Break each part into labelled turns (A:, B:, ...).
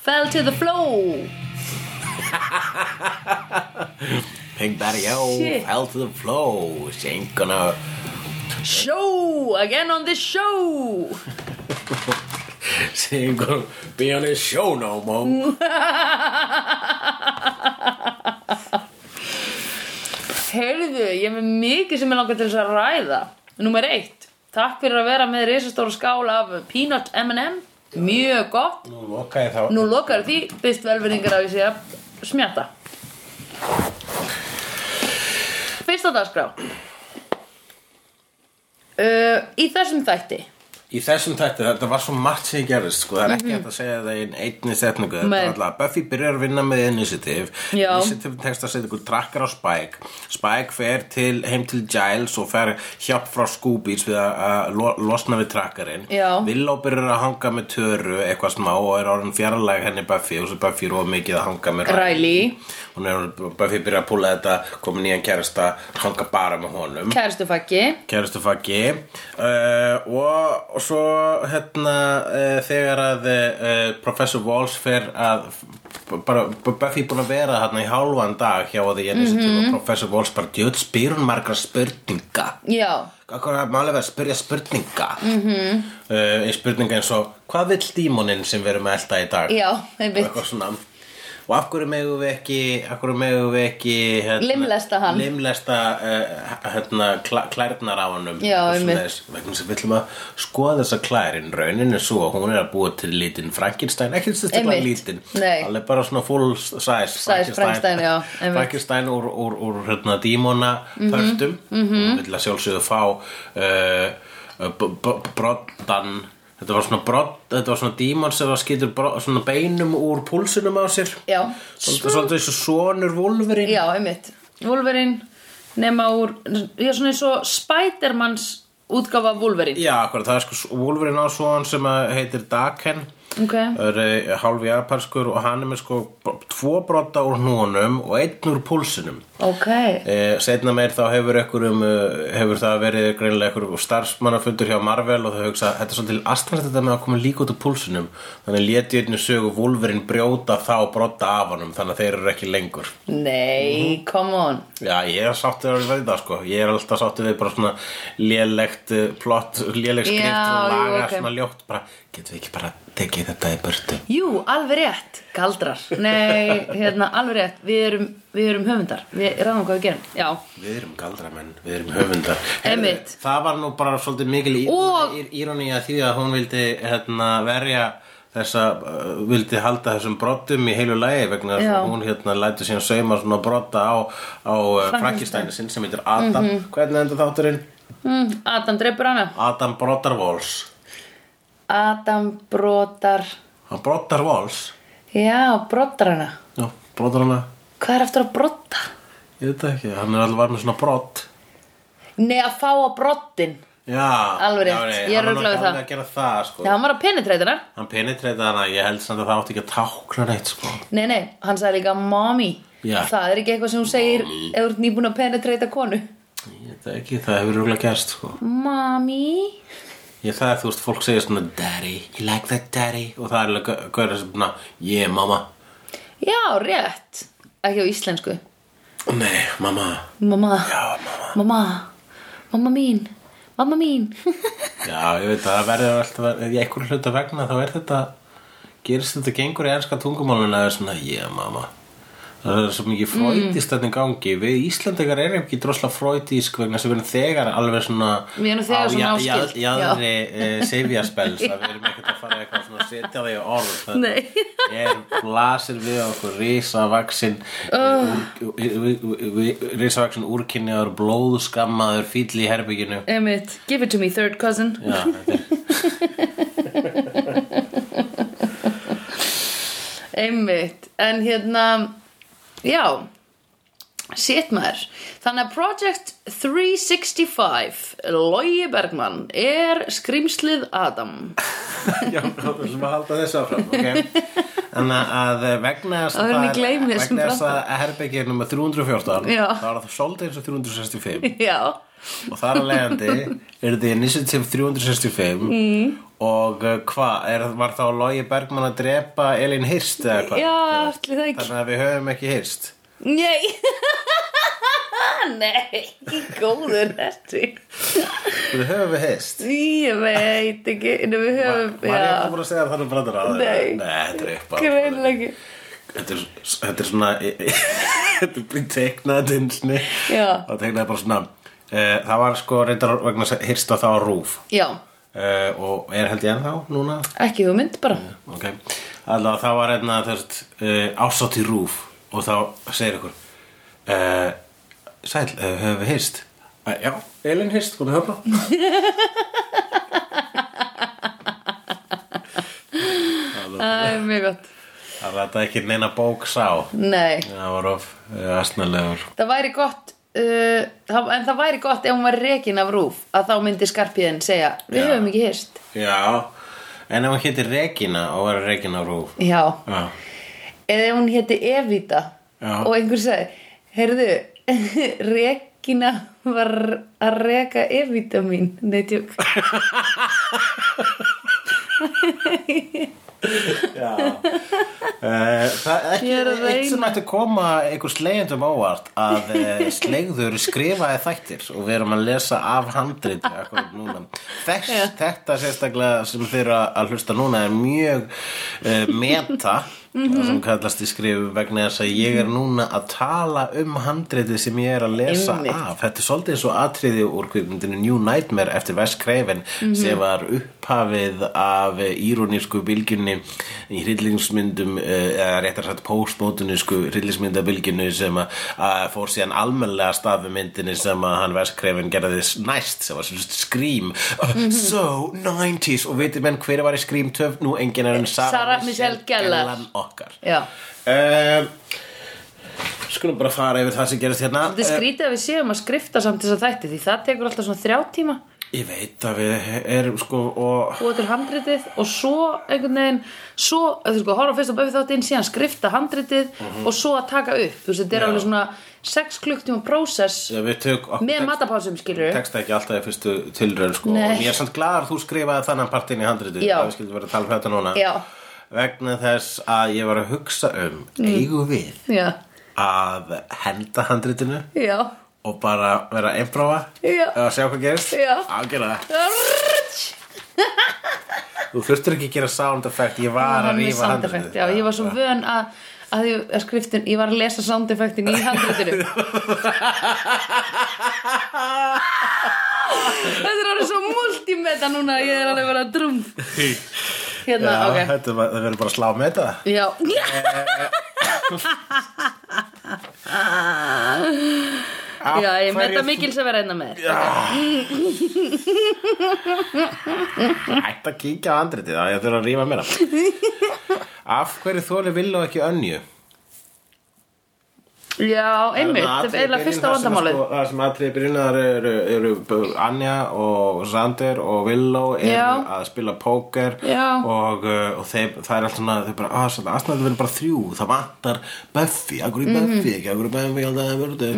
A: Fell to the flow
B: Pink Daddy O
A: Shit.
B: fell to the flow She ain't gonna
A: Show, again on this show
B: She ain't gonna be on this show no more
A: Heyrðu, ég hef mikið sem ég langar til þess að ræða Númer eitt Takk fyrir að vera með risastóra skál af Peanut M&M Mjög gott
B: Nú loka ég þá
A: Nú lokar því, byrst velverðingar að ég sé að smjata Fyrsta dagskrá uh, Í þessum þætti
B: Í þessum tætti þetta var svo margt sem ég gerist sko, það er ekki hægt að segja það í einni setningu þetta
A: Mhm. Nei.
B: er alltaf, Buffy byrjar að vinna með Initiative
A: Já.
B: Initiative tekst að setja ykkur trakkar á Spike Spike fer til, heim til Giles og fer hjálp frá Scoobies við að- að lo- losna við trakkarinn
A: Já.
B: Willow byrjar að hanga með Töru eitthvað smá og er orðin fjarlæg henni Buffy og svo Buffy róð mikið að hanga með
A: Ræli,
B: hún er Buffy byrjar að púla þetta komin nýjan kærasta, hanga bara með honum
A: kæristufakki
B: kærustu faggi uh, og, og svo hérna uh, þegar að uh, Professor Walsh fer að b- bara, b- Buffy búin að vera hérna í hálfan dag hjá því Jenny mm og Professor Walsh bara djöð spyr hún margra spurninga
A: Já,
B: hvað er málega að spyrja spurninga mm -hmm. uh, spurninga eins og hvað vill dímonin sem við erum að elda í dag
A: já,
B: og
A: einmitt
B: eitthvað svona og af hverju megum við ekki af hverju megum við ekki hérna,
A: Limlesta hann.
B: limlesta uh, hérna, kla, klærnar á hannum
A: Já,
B: og
A: einmitt.
B: svoleiðis. vegna sem við ætlum að skoða þessa klærin raunin er svo að hún er að búa til lítinn Frankenstein, ekki sérstaklega
A: Einmitt.
B: lítinn
A: Nei.
B: alveg bara svona full size Frankenstein,
A: Frankenstein, já, einmitt.
B: Frankenstein úr, úr, úr hérna, dímona
A: Mhm,
B: pörtum mm -hmm. vill að sjálfsögðu fá uh, uh, b- b- broddan Þetta var svona, brot, þetta var svona dímon sem var skýtur bro- svona beinum úr púlsunum á sér
A: Já.
B: Svolítið svolítið eins og sonur Wolverine
A: Já, einmitt Wolverine nema úr Ég er svona eins og Spidermans útgáfa af Wolverine
B: Já, akkurat, það er sko Wolverine á svoan sem að heitir Daken
A: Ok,
B: er eh, hálf japanskur og hann er með sko bro- tvo brotta úr hnúanum og einn úr púlsinum
A: ok
B: eh, setna meir þá hefur, ekkur um, eh, hefur það verið greinilega ekkur starfsmannafundur hjá Marvel og þau hugsa þetta er svolítið astralt þetta með að koma líka út úr púlsinum þannig léti einnig sögu Wolverine brjóta þá brotta af honum þannig að þeir eru ekki lengur
A: Nei, come on
B: Já, ég er sáttur að vera í það sko Ég er alltaf sáttur við bara svona lélegt eh, plott, léleg skrift
A: Já,
B: og laga
A: jú, ok.
B: svona ljótt bara, getum við ekki bara tekið þetta í burtu
A: Jú, alveg rétt, galdrar Nei, hérna, alveg rétt Við erum, við erum höfundar, við ráðum hvað við gerum Já,
B: Við erum galdramenn, við erum höfundar
A: Einmitt.
B: Heyrðu, Það var nú bara svolítið mikil
A: Og-
B: íroni að því að hún vildi hérna, verja þessa, uh, vildi halda þessum brottum í heilu lagi vegna þess
A: Já.
B: að hún hérna lætur síðan sauma svona brotta á, á
A: Frankenstein. Mhm.
B: Frankenstein sinn sem heitir Adam Hvernig enda þátturinn?
A: mm, Adam dreipur hana
B: Adam Brotarvols
A: Adam brotar
B: Hann Brotarvols?
A: Já, brotar hana
B: Já, brotar hana
A: Hvað er aftur að brota?
B: Ég veit það ekki, hann er alltaf var með svona brot
A: Nei, að fá á brotin
B: Já,
A: Alveg rétt,
B: já, nei,
A: ég er
B: hann var
A: örugglega við það.
B: nú ekki alveg að gera það sko.
A: Nei, hann var að penetrate hana
B: Hann penetreita hana, ég held samt að það átti ekki að tákna neitt sko.
A: Nei, nei, hann sagði líka mommy
B: Já.
A: Það er ekki eitthvað sem hún segir ef þú ert nýbúin að penetrata konu
B: Ég veit það ekki, það hefur rúglega gerst sko.
A: Mommy
B: Ég það er þú veist, fólk segir svona Daddy, you like that daddy Og það er alveg gau- gauðra sem svona Yeah, mamma
A: Já, rétt Ekki á íslensku
B: Nei, mamma
A: Mamma,
B: Já, mamma
A: mamma, mamma mín Mamma mín
B: Já, ég veit að það verður alltaf að- Í einhverju hluta vegna þá er þetta Gerist þetta gengur í ennska tungumálun Það er svona, yeah, mamma Það er svo mikið fröytist mm. í gangi Við Íslandingar erum ekki drosla fröytísk vegna sem við erum þegar alveg svona
A: Við erum þegar svona áskild,
B: Já, jáðri uh, sefjaspels að við erum ekkert að fara eitthvað svona að setja það í orð Það
A: Nei.
B: er blasir við okkur risavaksin uh. risavaksin úrkynniður blóðskammaður fýll í herbygginu
A: Emmett, give it to me third cousin
B: Já, þetta er
A: Einmitt, en hérna Já Sitt maður Þannig að Project 365 Logi Bergmann er skrimslið Adam
B: Já, við ætlum að halda þessu áfram okay? Þannig að eh, vegna þess
A: Áður en ég
B: það er-
A: gleymi þessum
B: vegna þess að
A: brandara.
B: herbergi er nummer 314
A: Já.
B: þá er það svolítið eins og 365
A: Já,
B: og þar að leiðandi er þið Initiative 365 mm. og uh, hvað, er- var þá Logi Bergman að drepa Elin Hirst eða hvað?
A: já, allir það ekki
B: Þannig að við höfum ekki Hirst
A: Nei Nei, góður ertu
B: Við höfum við Hirst
A: Ég veit ekki En við höfum,
B: Var ég ekki
A: já
B: búin að segja þannig brandar að
A: Nei.
B: Nei, þetta er upp
A: Greinlega ekki
B: þetta er, þetta er svona þetta er blíð teiknað einsni
A: Já.
B: og teiknaði bara svona uh, það var sko reyndar vegna þess að hyrsta þá rúf
A: Já,
B: uh, og er held ég ennþá núna
A: ekki þú mynd bara
B: ok, allavega þá var einna þess uh, ásátt í rúf og þá segir ykkur uh, sæl, uh, höfum við hyrst uh, já, Elin hyrst, komið höfna
A: Það er mjög gott
B: það var þetta ekki neina bók sá
A: Nei,
B: það var of uh, asnalegur
A: það væri gott uh, það, En það væri gott ef hún var rekin af rúf Að þá myndi skarpiðin segja Við
B: Já.
A: höfum ekki hyrst
B: já, en ef hún héti Regina og var Regina á rúf
A: Já,
B: já
A: eða ef hún héti Evita
B: Já.
A: Og einhver sagði Heyrðu, rekina var að reka Evita mín Nei, tjók
B: Já. Eh, Það er ekki
A: Ég er að
B: eitt sem
A: reyna.
B: ætti að koma einhver slegjendum ávart að eh, slegður skrifaði þættir og við erum að lesa af handrit akkurat núna. Þess, þetta sérstaklega sem þeir eru að hlusta núna er mjög uh, meta það sem kallast í skrifu vegna þess að ég er núna að tala um handritið sem ég er að lesa
A: Einmitt.
B: af. Þetta er svolítið eins og atriði úr kvikmyndinu New Nightmare eftir Wes Craven
A: Mhm.
B: sem var upphafið af írónísku bylgjunni í hryllingsmyndum eh, eða réttar sagt postmótunísku hryllingsmyndabilgjunni sem að- að fór síðan almennlega stafi myndinni sem að hann Wes Craven gerði þess næst sem var svolítið skrím
A: Mhm.
B: uh, So 90s og veitir menn hver var í skrím töf nú enginn er en Sarah,
A: Sarah Michelle Gellar.
B: Gellan okkar
A: Já
B: uh, Skulum bara fara yfir það sem gerist hérna
A: Þetta er skrítið að við séum að skrifta samt þess að þætti því það tekur alltaf svona þrjá tíma
B: Ég veit að við erum sko og
A: búið til handritið og svo einhvern veginn, svo, þú sko, horfa fyrst á böfið þáttinn, síðan skrifta handritið og svo að taka upp, þú veist, þetta er
B: Mhm. Já.
A: alveg svona 6 klukktíma prósess
B: Já, við tök okkur
A: með matapásum, skilur við
B: tekst ekki alltaf í fyrstu tilraun sko
A: Nei.
B: og ég er samt glaðar þú skrifaði þannan partinn í handritið
A: Já.
B: að við skildum vera að tala um þetta núna
A: Já.
B: vegna þess að ég var að hugsa um eigum við
A: Já,
B: að henda handritinu
A: já,
B: og bara vera að einbróa
A: Já.
B: og sjá hvað gerist
A: Já.
B: Ágjöra. þú þurftur ekki að gera sound effect ég var
A: Hann
B: að
A: með
B: rífa
A: sound effect,
B: handritið
A: já, ég var svo vön að að, ég, að skriftin, ég var að lesa sound effectin í handritinu Þetta er alveg svo multimeta núna ég er alveg bara drum Hérna,
B: Já,
A: ok
B: þetta var- það verður bara að slá með þetta
A: Já,
B: Eh,
A: já ég
B: eh. Af
A: metta
B: hverju
A: mikils að vera einna með þér
B: Hætt að kíkja á andritið að ég þurfa að rífa meira Af hverju þóli villu ekki önju?
A: Já, einmitt, það er eiginlega fyrsta vandamálið
B: sko, Það sem atriði byrjunar eru, eru B- Anja og Sander og Villó eru
A: Já.
B: að spila póker
A: Já.
B: og, uh, og þeir, það er allt svona þau bara, að svona, aðsnaður verður bara þrjú það vantar Buffy, akkur í Buffy ekki akkur í Buffy, alltaf það verður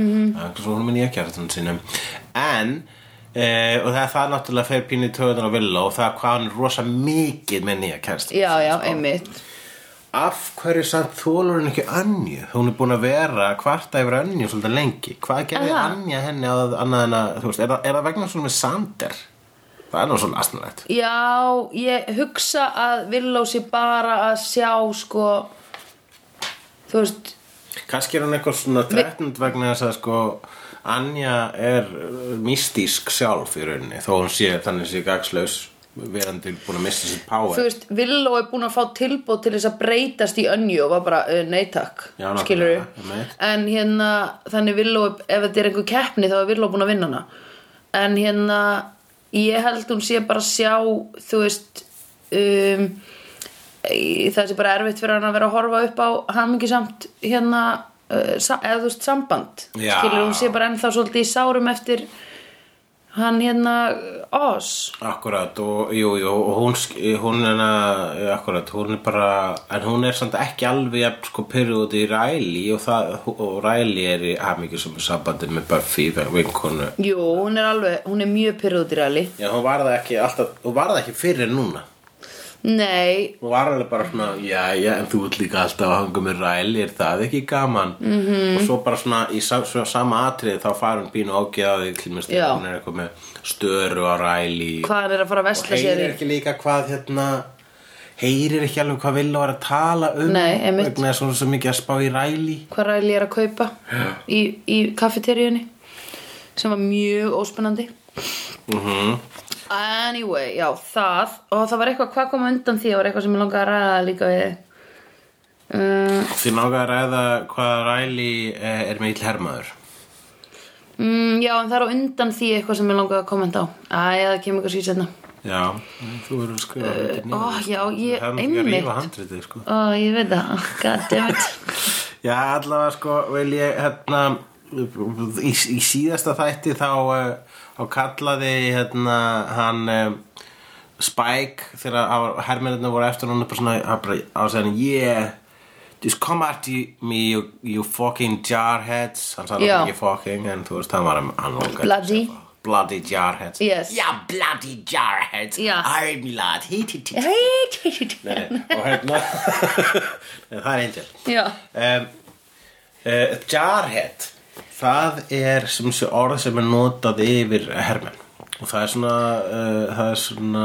B: akkur svo hún minn ég ekki að þetta sínum en Uh, og það er það náttúrulega fer pínu í töðun og vilja og það er hvað hann er rosa mikið með nýja kæst
A: Já, já,
B: sko-
A: einmitt
B: Af hverju samt þólur hún ekki Önju? Hún er búin að vera að kvarta yfir Önju svolítið lengi. Hvað gerði
A: Aha.
B: Anja henni að annað en að, þú veist, er, það- er það vegna svona með Sander? Það er nú svona astnulegt.
A: Já, ég hugsa að Villó sé bara að sjá sko Þú veist,
B: Kannski er hún eitthvað svona tretnund vegna þess að sko Anja er uh, mystísk sjálf í rauninni þó hún sé þannig sé gagslaus verandi búin að missa sitt power.
A: þú veist Villó er búin að fá tilbúð til þess að breytast í önju og var bara "Uh, nei takk,
B: Já, nákvæmlega,
A: skilur
B: einmitt.
A: en hérna, þannig Villó ef þetta er einhver keppni þá er Villó búin að vinna hana en hérna ég held hún sé bara að sjá þú veist um, í- það sé bara erfitt fyrir hann að vera að horfa upp á hamingisamt hérna uh, sa- eða þú veist samband
B: Já.
A: skilur hún sé bara ennþá svolítið í sárum eftir hann hérna Oz
B: Akkurat, og jú, jú, og hún, sk- hún er, eh, akkurat, hún er bara, en hún er samt ekki alveg jafn sko pyrrið út í Ræli og, það, og Ræli er í hamingi sem er sambandið með Buffy, vinkonu.
A: Jú, hún er alveg, hún er mjög pyrrúð í ræli
B: Já, hún var það ekki alltaf, hún var það ekki fyrir núna.
A: Nei,
B: Hún var alveg bara svona, já, já, en þú ert líka alltaf að hanga með Ræli, er það ekki gaman? Mm -hmm. Og svo bara svona í sa, svo, sama atrið þá fara hún pínu ágæðaði, klimmist,
A: Já.
B: hún er eitthvað með störu á Ræli.
A: hvað hann er að fara að vesla sér í
B: heyrir ekki líka hvað hérna heyrir ekki alveg hvað Villa var að tala um
A: Nei, einmitt.
B: vegna þess að hún er svo mikið að spá í ræli
A: hvað ræli er að kaupa í, í kaffeteríunni sem var mjög óspennandi
B: Mhm.
A: anyway, já, það og það var eitthvað, hvað kom á undan því það var eitthvað sem ég langaði að ræða líka við um,
B: því nága að ræða hvað ræli eh, er mikill hermaður
A: mm, já, en það er á undan því eitthvað sem ég langaði að kommenta á æja, það kemur kannski setna
B: já, þú verður að skrifa þetta
A: Eh, ó, já, ég-
B: það er ekki að
A: einmitt.
B: rífa handritið sko.
A: ó, ég veit það, Oh, goddammit
B: já, allavega sko vil ég hérna í, í síðasta þætti þá eh, þá kallaði hérna hann eh, Spike þegar hermennirna voru eftir hún er bara svona hann bara á að segja hann yeah just come at you- me you, you fucking jarheads hann sagði
A: Já.
B: hann ekki fucking en þú veist hann var hann langaði
A: Bloody.
B: bloody jarheads
A: Yes.
B: yeah bloody jarheads
A: Já.
B: I'm glad he he- he- Nei, nei, og hérna Nei, það er angel
A: já,
B: um, uh, Jarhead það er sem sé orð sem er notað yfir hermenn og það er svona, uh, það er svona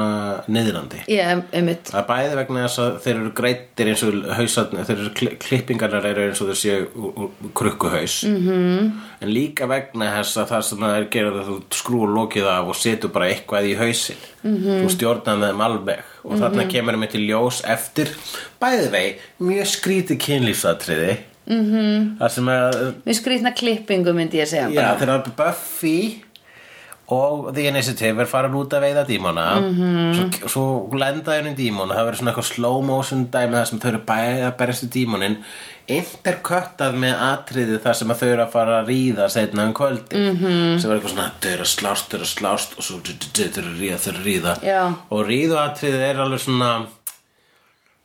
B: niðrandi
A: ég, einmitt
B: Það er bæði vegna þess að þeir eru greittir eins og hausarnir, þeir eru kli- klippingarnar eru eins og þeir séu úr- úr krukkuhaus -hmm. en líka vegna þess að það sem það er gerað að þú skrúur lokið af og setur bara eitthvað í hausin mm -hmm. þú stjórnar með þeim alveg og þarna kemur þeim til ljós eftir bæði vei, mjög skrítið kynlífsatriði mm -hmm. það sem að
A: mér skrýtna klippingu myndi ég segja
B: Já,
A: bara.
B: þegar Buffy og The Initiative er farin út að veiða dímona -hmm. svo, svo lenda henni dímona það verður svona eitthvað slow motion dæmi þar sem þau eru bæði að berjast í dímonin interköttað með atriði þar sem að þau eru að fara að ríða setna um kvöldi -hmm. sem er eitthvað svona þau eru að slást, þau eru að slást og svo d- d- d- þau eru að ríða, þau eru að ríða
A: Já.
B: og ríðu atriðið er alveg svona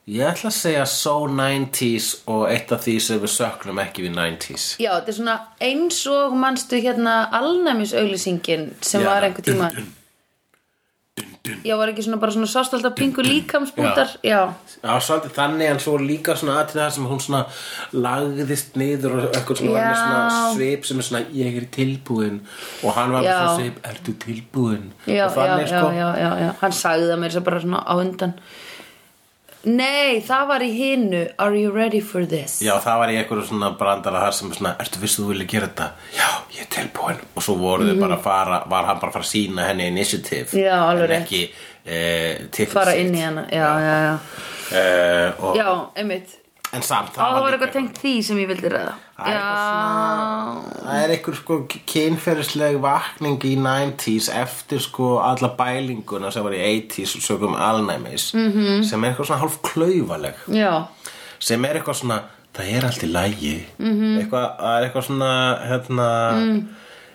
B: ég ætla að segja so 90s og eitt af því sem við söknum ekki við 90s
A: Já, þetta er svona eins og manstu hérna alnæmisauðlýsingin sem
B: Já,
A: var einhver tíma Já, var ekki svona bara svona sást alltaf pingu líkamsbútar Já,
B: Já, svolítið þannig en svo líka svona aðrið það sem hún svona lagðist niður og eitthvað svona, var með
A: Já.
B: svona svip sem er svona ég er tilbúin og hann var með
A: Já.
B: svona svip ertu tilbúin
A: já,
B: og
A: já,
B: þannig
A: já,
B: sko
A: já, já, já Hann sagði það mér svo bara svona á undan Nei, það var í hinu Are you ready for this?
B: Já, það var í einhverju svona brandara þar sem er svona, ertu vissu þú vilja gera þetta? Já, ég er tilbúin. Og svo voru þau bara að fara, var hann bara að fara að sína henni initiative.
A: Mhm. Já, alveg
B: En
A: rétt.
B: ekki eh, til
A: Fara inn í hana, já, já, já
B: Eh, og,
A: Já, einmitt
B: En samt,
A: Á, það var
B: líka
A: eitthvað tengt því sem ég vildi ræða
B: Það er eitthvað
A: Já,
B: Það er einhver sko kynferðisleg vakning í 90s eftir sko alla bælinguna sem var í 80s sögum alnæmis
A: Mhm.
B: -hmm. sem er eitthvað svona hálf klaufaleg
A: já,
B: sem er eitthvað svona það er allt í lægi
A: Mhm.
B: -hmm. eitthvað, það er eitthvað svona hérna,
A: Mm.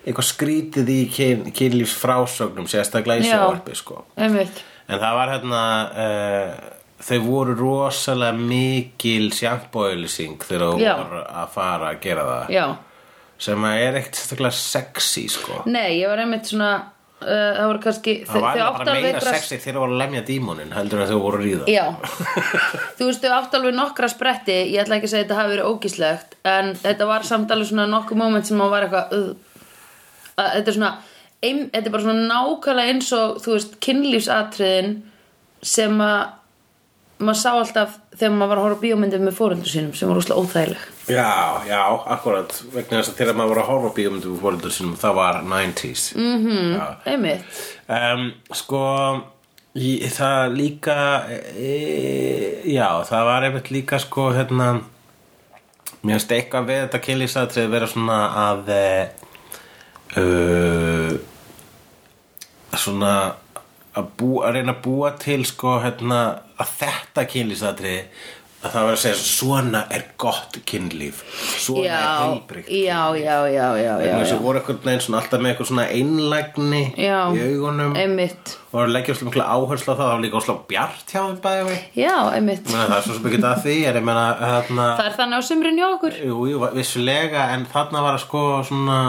B: eitthvað skrítið í kyn, kynlífs frásögnum sérstaklega í
A: Já.
B: sjóvarpi sko
A: einmitt
B: en það var hérna uh, þau voru rosalega mikil sjampóilising þegar þú
A: Já.
B: voru að fara að gera það
A: Já,
B: sem að er ekkert sérstaklega sexy sko
A: Nei, ég var einmitt svona uh, það voru kannski
B: það var
A: þau
B: eiginlega
A: áttu
B: bara
A: alveg
B: meira
A: einhverja-
B: sexy þegar þú voru að lemja dímonin heldur en að þau voru að ríða
A: Já, þú veist, þau áttu alveg nokkra spretti ég ætla ekki að segja að þetta hafi verið ógíslegt en þetta var samt alveg svona nokkuð moment sem maður var eitthvað uh, að, þetta er svona ein, þetta er bara svona nákvæmlega eins og þú veist, kynlífsatriðin sem að maður sá alltaf þegar maður var að horfa á bíómyndið með fóreldur sínum sem var rússlega óþægileg
B: já, já, akkurat vegna þess að þegar maður voru að horfa á bíómyndu við fóreldur sínum það var 90s mm -hmm.
A: einmitt,
B: um, sko í, það líka e, já, það var einmitt líka sko hérna mér finnst eitthvað við þetta kynlísatrið vera svona að e, uh, svona að, bú, að reyna að búa til sko hérna að þetta kynlísatrið að það var að segja svona er gott kynlíf svona
A: já,
B: er heilbrygt
A: já, já, já, já, já,
B: þess
A: já.
B: að voru eitthvað neginn svona alltaf með eitthvað svona einlægni
A: Já.
B: í augunum
A: einmitt
B: og leggjum svona mikla áherslu á það það var líka óslega bjart hjá þeim bæði vei
A: já, einmitt
B: það er svo sem ekki að því en ég meina hérna,
A: það er þannig á sumrin hjá okkur
B: jú, jú, vissulega en þarna var að sko svona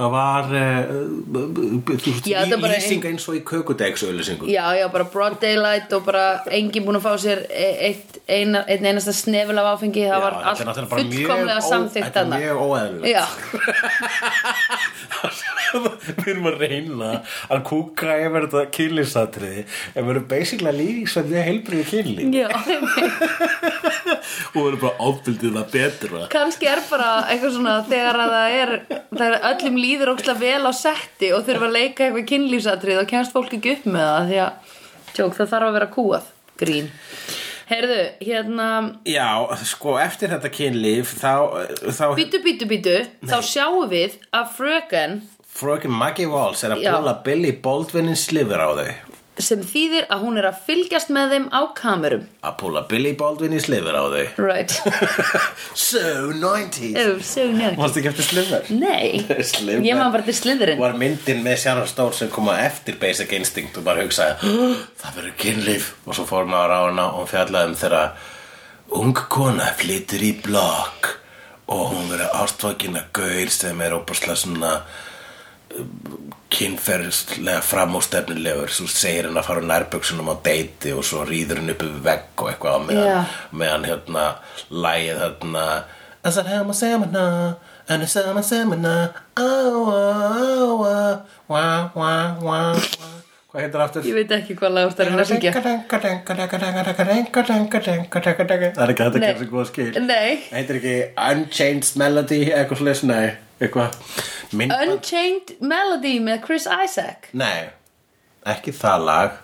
B: það var eh, þú veist,
A: Já, þetta er bara ein-
B: lýsing eins og í kökudegsauðlýsingu
A: já, já, bara broad daylight og bara enginn búinn að fá sér e- eitt, eina, einn einasta snefil af áfengi það var allt fullkomlega samþykkt
B: Þetta
A: þarna
B: er mjög óæðilegt
A: já,
B: Við erum að reyna að kúka yfir þetta kynlýsatriði en við erum basically að lýsa mjög heilbrið kynlý
A: já
B: og við erum bara ábildið það betra
A: kannski er bara eitthvað svona þegar að það er, það er öllum líður ókslega vel á setti og þurfa að leika eitthvað kynlýsatrið og kemst fólk ekki upp með það því að, tjók, það þarf að vera kúað grín heyrðu, hérna
B: Já, sko, eftir þetta kynlýf þá, þá
A: Bítu, bítu, bítu, þá sjáum við að fröken
B: Fröken Maggie Walls er að
A: Já.
B: bóla Billy Baldwinin slifur á þau
A: sem þýðir að hún er að fylgjast með þeim á kamerum
B: að bóla Billy Baldwinin slifur á þau
A: Right,
B: So 90s
A: oh, so nice
B: Mástu ekki eftir slifur?
A: Nei,
B: Slifur.
A: ég maður bara til sliðurinn
B: var myndin með Sharon Stone sem kom að eftir Basic Instinct og bara hugsaði það verður kynlíf og svo fór maður á hana og hún fjallaði um þegar ung kona flytur í blokk og hún verður ástfókina gaur sem er óbúrslega svona eh, kynferðslega framústefnilegur svo segir hann að fara nærböksunum á deiti og svo rýður hann upp yfir vegg og eitthvað á meðan,
A: Já.
B: meðan hérna lægið hérna As I have a seminar and a summer seminar oh, oh, oh, wah, wah, wah, wah Hvað heitir aftur?
A: Ég veit ekki hvað lagur það er að syngja
B: Það er ekki hægt að
A: Nei.
B: gera svo góða skil
A: Nei.
B: Það Heitir ekki Unchanged Melody eitthvað slags, nei eitthvað Mynd-
A: Unchained Melody með Chris Isaac
B: Nei, ekki það lag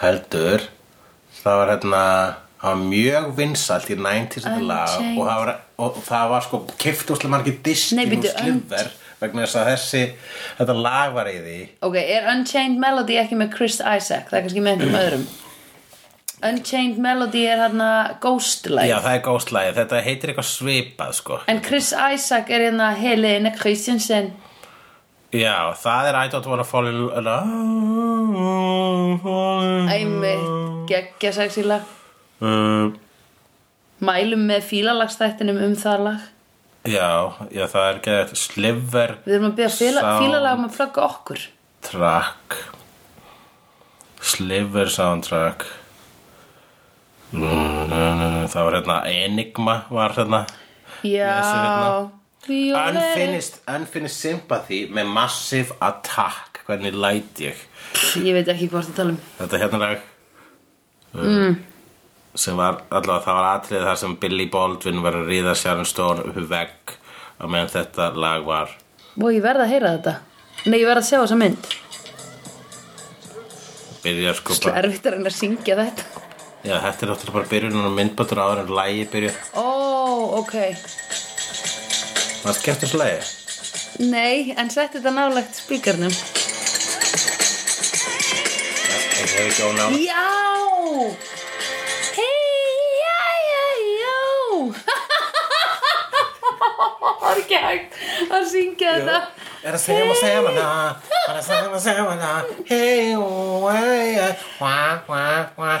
B: heldur það var hérna það var mjög vinsalt í 90s þetta lag
A: Unchained.
B: og það var, og það var sko kift úslega margir diski
A: Nei, bíddu,
B: slifver vegna þess að þessi þetta lag var í því
A: Ok, er Unchained Melody ekki með Chris Isaac? Það er kannski með einhverjum öðrum Unchained Melody er hérna
B: Já,
A: ghost-like
B: það er góðslagið, þetta heitir eitthvað svipað sko
A: En Chris Isaac er hérna Helena Christensen
B: Já, það er I don't wanna fall in love
A: Æmi, geggja sexíla
B: Uh,
A: Mælum með fílalagstættinum um það lag
B: já, já, það er ekki þetta Sliver
A: Við erum að byrja fíla,
B: Sá-
A: fílalagum að flögga okkur
B: track Sliver soundtrack Það var hérna Enigma var hérna Þessu
A: Já
B: hérna.
A: Violet.
B: Unfinished, unfinished Sympathy með Massive Attack Hvernig læt ég
A: Ég veit ekki hvað það tala um
B: Þetta hérna lag mm. sem var allavega það var atrið þar sem Billy Baldwin var að ríða Sharon Stone upp í vegg og meðan þetta lag var
A: Vó, ég verð að heyra þetta Nei, ég verð að sjá þessa mynd
B: byrjar sko
A: Svo
B: bara
A: erfitt að reyna að syngja þetta
B: Já, þetta er náttúrulega bara byrjunum og myndbættur áður en lagi byrja
A: Ó, ok
B: Það skemmtir svo lagi
A: Nei, en sett þetta nálægt spíkarnum
B: Ég hef ekki óná
A: Já Hei, já, já, já Það er ekki hægt að syngja þetta
B: Er að segja maður segja maður Er að segja maður segja maður Hei, ó, hei, hei Hva, hva, hva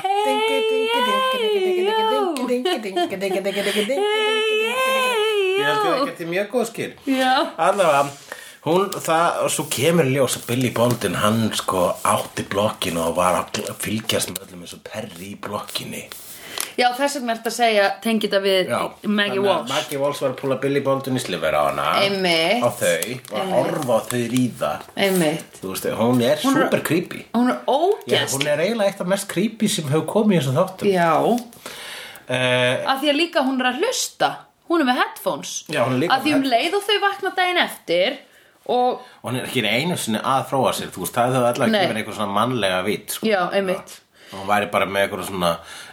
B: Ég held að það geti mjög góð skil
A: Já,
B: Allavega Hún, það, og svo kemur í ljós að Billy Baldwin, hann sko átti blokkinu og var að fylgjast með öllum eins og perri í blokkinni.
A: já þess vegna ertu að segja tengi þetta við Maggie
B: þannig að
A: Walsh
B: Maggie Walsh var að púla Billy Baldwin í slifur á hana.
A: Einmitt.
B: Á þau, og að horfa á þau ríða.
A: Einmitt
B: Þú veist, hún er
A: Hún er-
B: super creepy.
A: Hún er
B: Já,
A: ógæst
B: hún er eiginlega eitt af mest creepy sem hefur komið í þessum þáttum.
A: Já
B: Uh,
A: Af því að líka hún er að hlusta Hún er með headphones
B: Já, hún er líka
A: Af því
B: með
A: um leið og þau vakna daginn eftir Og,
B: og hún er ekki einu sinni að þróa sér, þú veist, það hefur allavega
A: Nei.
B: að gefa einhver svona mannlega vít. Sko.
A: já, einmitt
B: Og hún væri bara með einhverja svona,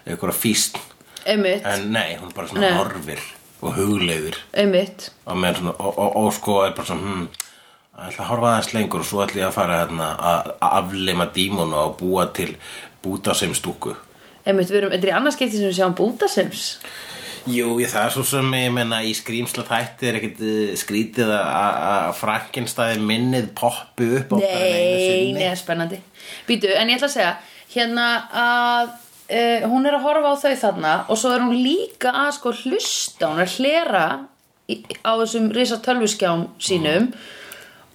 B: einhverja físt.
A: Einmitt,
B: En nei, hún er bara svona
A: Nei.
B: horfir og hugleiður.
A: einmitt
B: og, meðan svona, og, og, og sko er bara svona hmm, ég ætla að horfa aðeins lengur og svo ætla ég að fara hérna, að að aflima dímonu og búa til búta sem stúku
A: einmitt, við erum, þetta er í annarskipti sem við sjáum Búta Sims
B: Jú, ég, það er svo sem ég menna í skrýmsla þætti er ekkert eh, skrítið að- að að Frankenstæði minnið poppu upp oftar en einu
A: Nei,
B: sinni.
A: neða spennandi Býtu, en ég ætla að segja Hérna að uh, Hún er að horfa á þau þarna Og svo er hún líka að sko hlusta Hún er að hlera í, Á þessum risa tölvuskjám sínum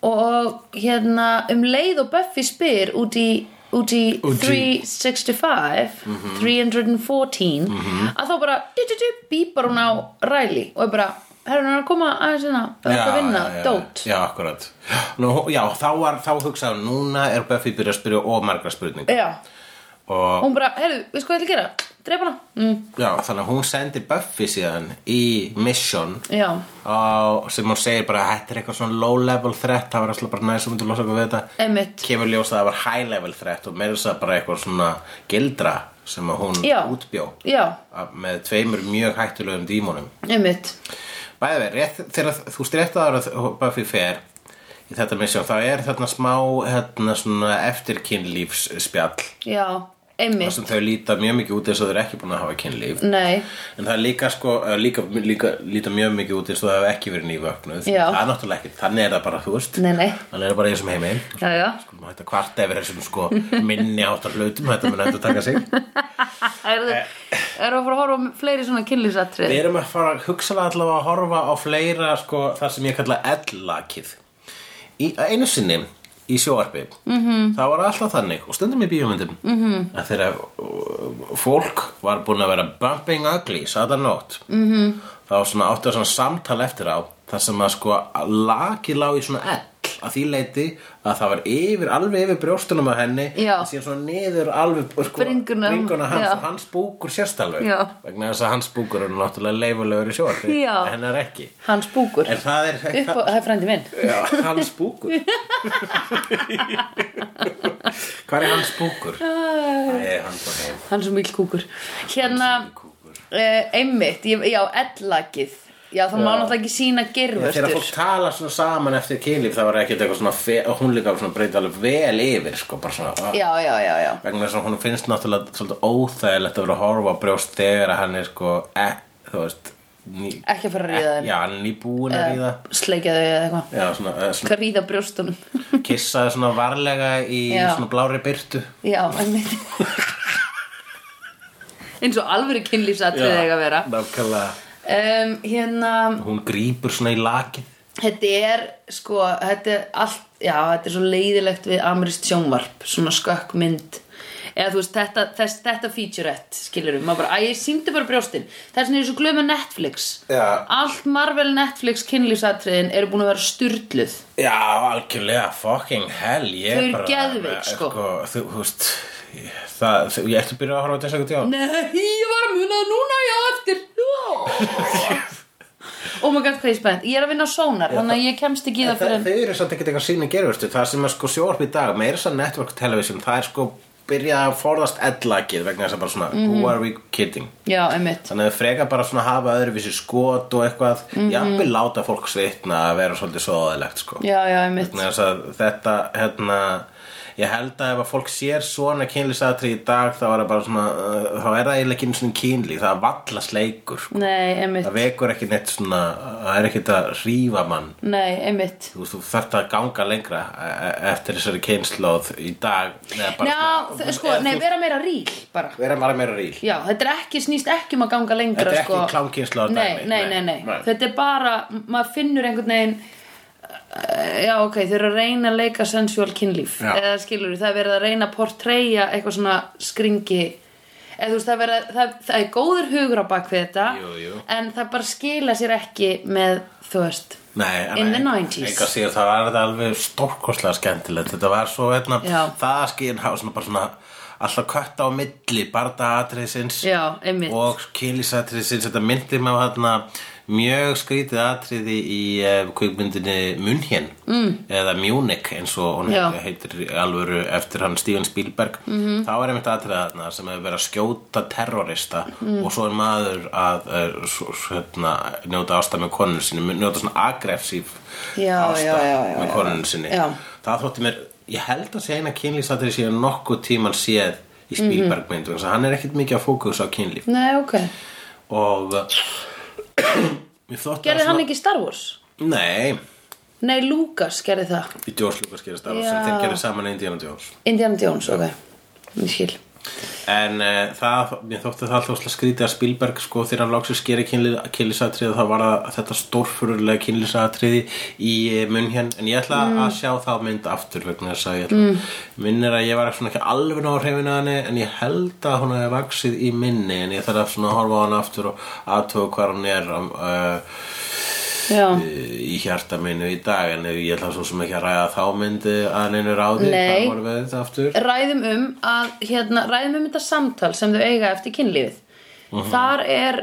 A: Og hérna Um leið og Buffy spyr Út í, út í
B: Út í- Mhm.
A: 365 314 Að þá bara du, du, du, Bípar hún á ræli Og er bara, herra hún er að koma aðeins hérna Það er að vinna, dót
B: Já, akkurat Nú, Já, þá, var, þá hugsaði hún, núna er Buffy byrjað að spyrja of margra spurningar
A: Já,
B: og
A: hún bara, heyrðu, við sko ætla að gera drepa hana mm.
B: já, þannig að hún sendir Buffy síðan í mission
A: já,
B: á, sem hún segir bara þetta er eitthvað svona low level threat það var alltaf bara næst, þú myndir losa eitthvað við þetta
A: einmitt
B: kemur ljósa að það var high level threat og meira þess að bara eitthvað svona gildra sem að hún
A: Já.
B: útbjó
A: já,
B: af- með tveimur mjög hættulegum dímonum
A: einmitt
B: Bæði verið, rétt, þegar þú strefta ára Buffy fer í þetta misjón, þá er þarna smá hérna, svona eftirkynlífsspjall
A: já,
B: þar
A: einmitt
B: sem þau líta mjög mikið út eins og þau eru ekki búin að hafa kynlíf
A: nei,
B: en það er líka sko, eh, líka, líka líta mjög mikið út eins og þau hafa ekki verið nývöknuð
A: Já.
B: það er náttúrulega ekki, þannig er það bara, þú veist
A: nei, nei
B: þannig er það bara eins og heiminn
A: já, já,
B: þetta kvarta yfir þessum sko minni áttar hlutum, þetta mun endur taka sig
A: erum við að fara að horfa á fleiri svona kynlífsatrið
B: Eh. Við erum að fara að hugsalega allavega að horfa á fleira sko, það sem ég kalla ellakið. Í, einu sinni í sjóarpi,
A: Mhm.
B: -hmm. það var alltaf þannig, og stundum í bíómyndum, -hmm. að þegar uh, fólk var búin að vera bumping ugly, saðan nótt, -hmm.
A: Mhm.
B: þá svona áttu að svona samtal eftir á, það sem að sko lakið lá í svona ell, að því leiti að það var yfir, alveg yfir brjóstunum að henni,
A: Já.
B: en síðan svona niður alveg sko,
A: Bringuna.
B: bringuna hans
A: Já.
B: og hans búkur sérst alveg
A: Já.
B: vegna þess að hans búkur er náttúrulega leifulegur í sjóarfi
A: Já.
B: en hennar ekki
A: hans búkur,
B: en það er
A: upp á, það er frændi minn
B: Já, hans búkur hvað er hans búkur? það er hans búkur heim
A: hans mýlkúkur hérna,
B: Kúkur.
A: uh, einmitt ég, já, ellakið já, það má náttúrulega ekki sína
B: þegar fólk
A: gerfustur
B: tala svona saman eftir kynlíf það var ekkert eitthvað svona fe- og hún líka var svona breyta alveg vel yfir sko, bara svona
A: já, já, já, já,
B: vegna þess að hún finnst náttúrulega svolítið óþægilegt að vera að horfa á brjóst þegar að hann er sko eh, þú veist ný,
A: ekki að fara að ríða þeim
B: já, hann er nýbúin að ríða
A: sleikja þau eða eitthvað
B: já, svona, eh, svona
A: Hvað ríða brjóstunum
B: kissaði svona varlega í
A: Já.
B: svona blári byrtu
A: Já, einmitt eins og alvöru kynlífsatrið eiga að vera
B: nákvæmlega
A: um, Hérna,
B: hún grípur svona í lakið
A: þetta er sko, þetta er allt Já, þetta er svo leiðilegt við amirist sjónvarp Svona skökkmynd Eða þú veist, þetta, þess, þetta featurette Skilur við, maður bara, að ég síndi bara brjóstin Það er svona eins og glöð með Netflix
B: Já.
A: Allt Marvel Netflix kynlífsatriðin eru búin að vera styrluð
B: já, algjörlega, fucking hell ég
A: Þau eru
B: bara- eh,
A: geðveik, sko.
B: þú þú veist ég- það, þú- ég ertu að byrja að horfa á þess að geta
A: Nei, ég var að muna það núna já, eftir Oh my god, hvað ég er spennt Ég er að vinna á sónar, þannig að ég kemst ekki í það
B: Þau
A: fyrir
B: eru samt ekkert eitthvað síni gerfurstu Það sem er sko sjóarp í dag, meira þess að network television Það er sko byrjað að forðast ellakið vegna þess að bara svona
A: Mhm.
B: Who are we kidding?
A: Já, einmitt
B: Þannig að þau freka bara svona hafa öðruvísi skot og eitthvað
A: Mhm.
B: Jafnvel láta fólk svitna að vera svolítið svoðalegt sko
A: Já, já, einmitt
B: Vegna þess að þetta hérna, ég held að ef að fólk sér svona kynlísatri í dag þá er það bara svona uh, þá er það eiginlega ekki einu svona kynlí það er valla sleikur sko.
A: Nei, einmitt
B: það vekur ekki neitt svona það er ekki að rífa mann
A: Nei, einmitt
B: þú, veist, þú þarft að ganga lengra e- e- eftir þessari kynslóð í dag eða bara
A: Já,
B: svona-
A: þau- sko,
B: eða
A: nei,
B: þú-
A: vera meira ríl bara
B: vera bara meira ríl
A: Já, þetta er ekki, snýst ekki um að ganga lengra
B: Þetta er ekki
A: sko.
B: klámkynslóðar
A: nei,
B: dæmi,
A: nei,
B: nei,
A: nei, nei,
B: nei.
A: Þetta er bara, maður finnur einhvern veginn eh, Já, ok, þau eru að reyna að leika sensual kynlíf
B: Já.
A: Eða skilur það er verið að reyna að portreyja eitthvað svona skringi Eða þú veist, það er, verið, að- það, það er góður hugur á bak við þetta
B: Jú, jú.
A: En það bara skila sér ekki með, þú veist
B: Nei, en
A: In the
B: en-
A: 90s.
B: engu að síður, það var þetta alveg stórkoslega skemmtilegt Þetta var svo, hérna,
A: Já.
B: það skýr hafa svona bara svona Alltaf kött á milli, bardaatriðsins
A: Já, einmitt.
B: Og kýlisatriðsins, þetta myndi mig á þarna Mjög skrítið atriði í uh, kvikmyndinni Munhén mm. Eða Munich eins og hún
A: Já.
B: heitir í alvöru eftir hann Steven Spielberg mm
A: Mhm.
B: -hmm. Þá er einmitt atriða þarna sem hefur verið að skjóta terrorista
A: Mhm.
B: Og svo er maður að uh, svo, svo, hérna, njóta ástæð með konun sinni Njóta svona aggressív
A: Já,
B: ástæð
A: já, já, já,
B: með
A: já.
B: konun sinni
A: Já.
B: Það þótti mér, ég held að segja eina kynlýsatri síðan nokkuð tíman séð í
A: Mhm.
B: Spielberg myndum mm -hmm. hann er ekkert mikið að fókus á kynlíf
A: Nei, ok
B: og eh, mér þótti það
A: Gerði hann
B: svona-
A: ekki Star Wars?
B: Nei,
A: Nei, Lucas gerði það
B: í George Lucas gerist það
A: Já.
B: sem þeir gerir saman í Indiana Jones
A: Indiana Jones, ok Ég skil
B: En uh, það, mér þótti það alltaf svolítið skrítið að Spielberg sko þegar hann loksins gerir kynlísatriði þá var það þetta stórfurulega kynlísatriði í eh, munn hér en ég ætla
A: Mm.
B: að sjá það mynd aftur vegna þess að ég ætla mm. minnir að ég var svona ekki alveg ná hrifin að henni en ég held að hún hefði vaksið í minni en ég þarf að svona horfa á hann aftur og aðtöga hvað hann er uh,
A: Já,
B: í hjarta minu í dag en ég ætla svo sem ekki að ræða þá myndi að neinu ráði
A: Nei.
B: hvað voru við þetta aftur
A: ræðum um að, hérna, ræðum um þetta samtal sem þau eiga eftir kynlífið Þar er,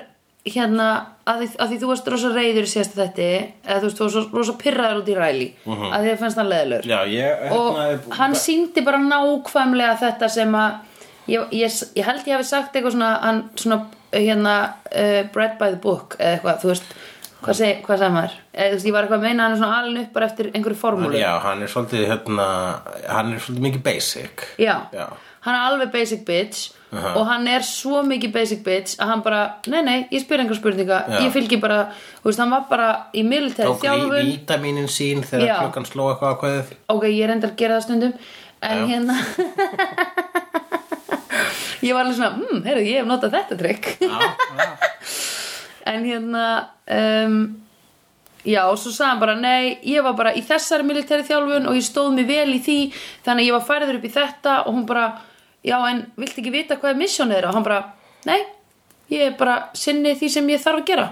A: hérna, að því, að því þú varst rosa reyður í síðasta þetta eða þú veist, þú varst rosa- rosa pirraður út í ræli að því það fannst hann leðilegur
B: Já, ég,
A: og hann síndi bara nákvæmlega þetta sem að ég, ég, ég held ég hafi sagt eitthvað svona, hann, svona hérna uh, bread by the book eða eitthvað, þú veist hvað, seg, hvað sagði maður, eða, þú veist, ég var eitthvað að meina hann er svona alin upp bara eftir einhverju formúlu
B: Já, hann er svolítið hérna, hann er svolítið mikið basic
A: Já.
B: Já.
A: hann er alveg basic bitch og hann er svo mikið basic bitch að hann bara, nei nei, ég spyr einhver spurninga
B: Já.
A: ég fylgi bara, þú veist, hann var bara í militæri
B: Tók
A: þjálfun
B: í vítaminin sín þegar
A: Já.
B: klokkan sló eitthvað ákveðið
A: ok, ég reyndar að gera það stundum en
B: Já.
A: hérna ég var alveg svona hmm, heyrðu, ég hef notað þetta trikk en hérna um, já, og svo sagði hann bara nei, ég var bara í þessari militæri þjálfun og ég stóð mig vel í því þannig að ég var færður upp í þetta og hún bara, já en viltu ekki vita hvað er misjónið þeirra? og hann bara, nei ég er bara sinni því sem ég þarf að gera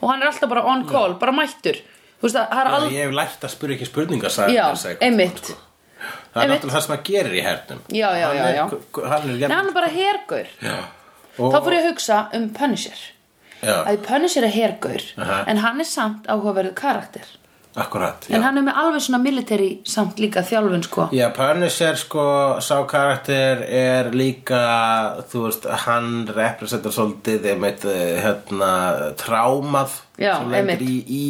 A: og hann er alltaf bara on call, bara mættur þú veist að það er
B: Já,
A: aldrei
B: Ég hef lært að spyrja ekki spurningar sagði
A: Já,
B: hann þess eitthvað,
A: einmitt.
B: sko. Það er
A: Einmitt.
B: náttúrulega það sem hann gerir í hernum
A: Já, já, já, já.
B: Hann er, hann er
A: Nei, hann
B: jafn
A: er bara hergaur
B: Já,
A: Þá
B: og,
A: fór ég að hugsa um Punisher
B: já
A: að Punisher er hergaur
B: Aha.
A: en hann er samt áhugaverðu karakter
B: akkurat
A: en
B: já.
A: hann er með alveg svona military samt líka þjálfun sko
B: Já, Punisher sko, sá karakter er líka, þú veist, hann representar svolítið, einmitt, eh, hérna, trámað
A: Já,
B: sem lendir
A: einmitt.
B: í, í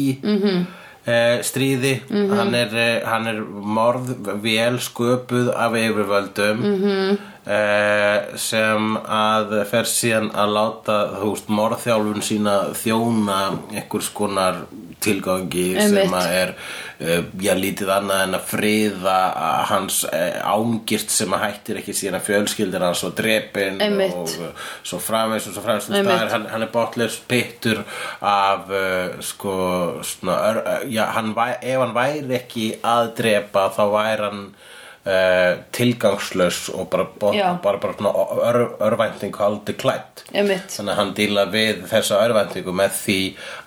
A: Mhm.
B: eh, stríði, hann, er, eh, hann er morð vel sköpuð af yfirvöldum -hmm.
A: Mhm.
B: eh, sem að fer síðan að láta, þú veist, morðþjálfun sína þjóna einhvers konar tilgangi
A: Einmitt.
B: sem að er uh, já, lítið annað en að friða að hans uh, ángirt sem að hættir ekki síðan að fjölskyldir hans og drepin
A: Einmitt.
B: og uh, svo framvegs og svo framvegs þú veist,
A: Einmitt.
B: það er- hann, hann er botlaus pittur af uh, sko svona, ör, uh, já, hann, væ- ef hann væri ekki að drepa þá væri hann uh, tilgangslaus og bara, bot,
A: Já.
B: bara, bara, svona ör, örvænting haldi klætt
A: Einmitt.
B: þannig að hann díla við þessa örvæntingu með því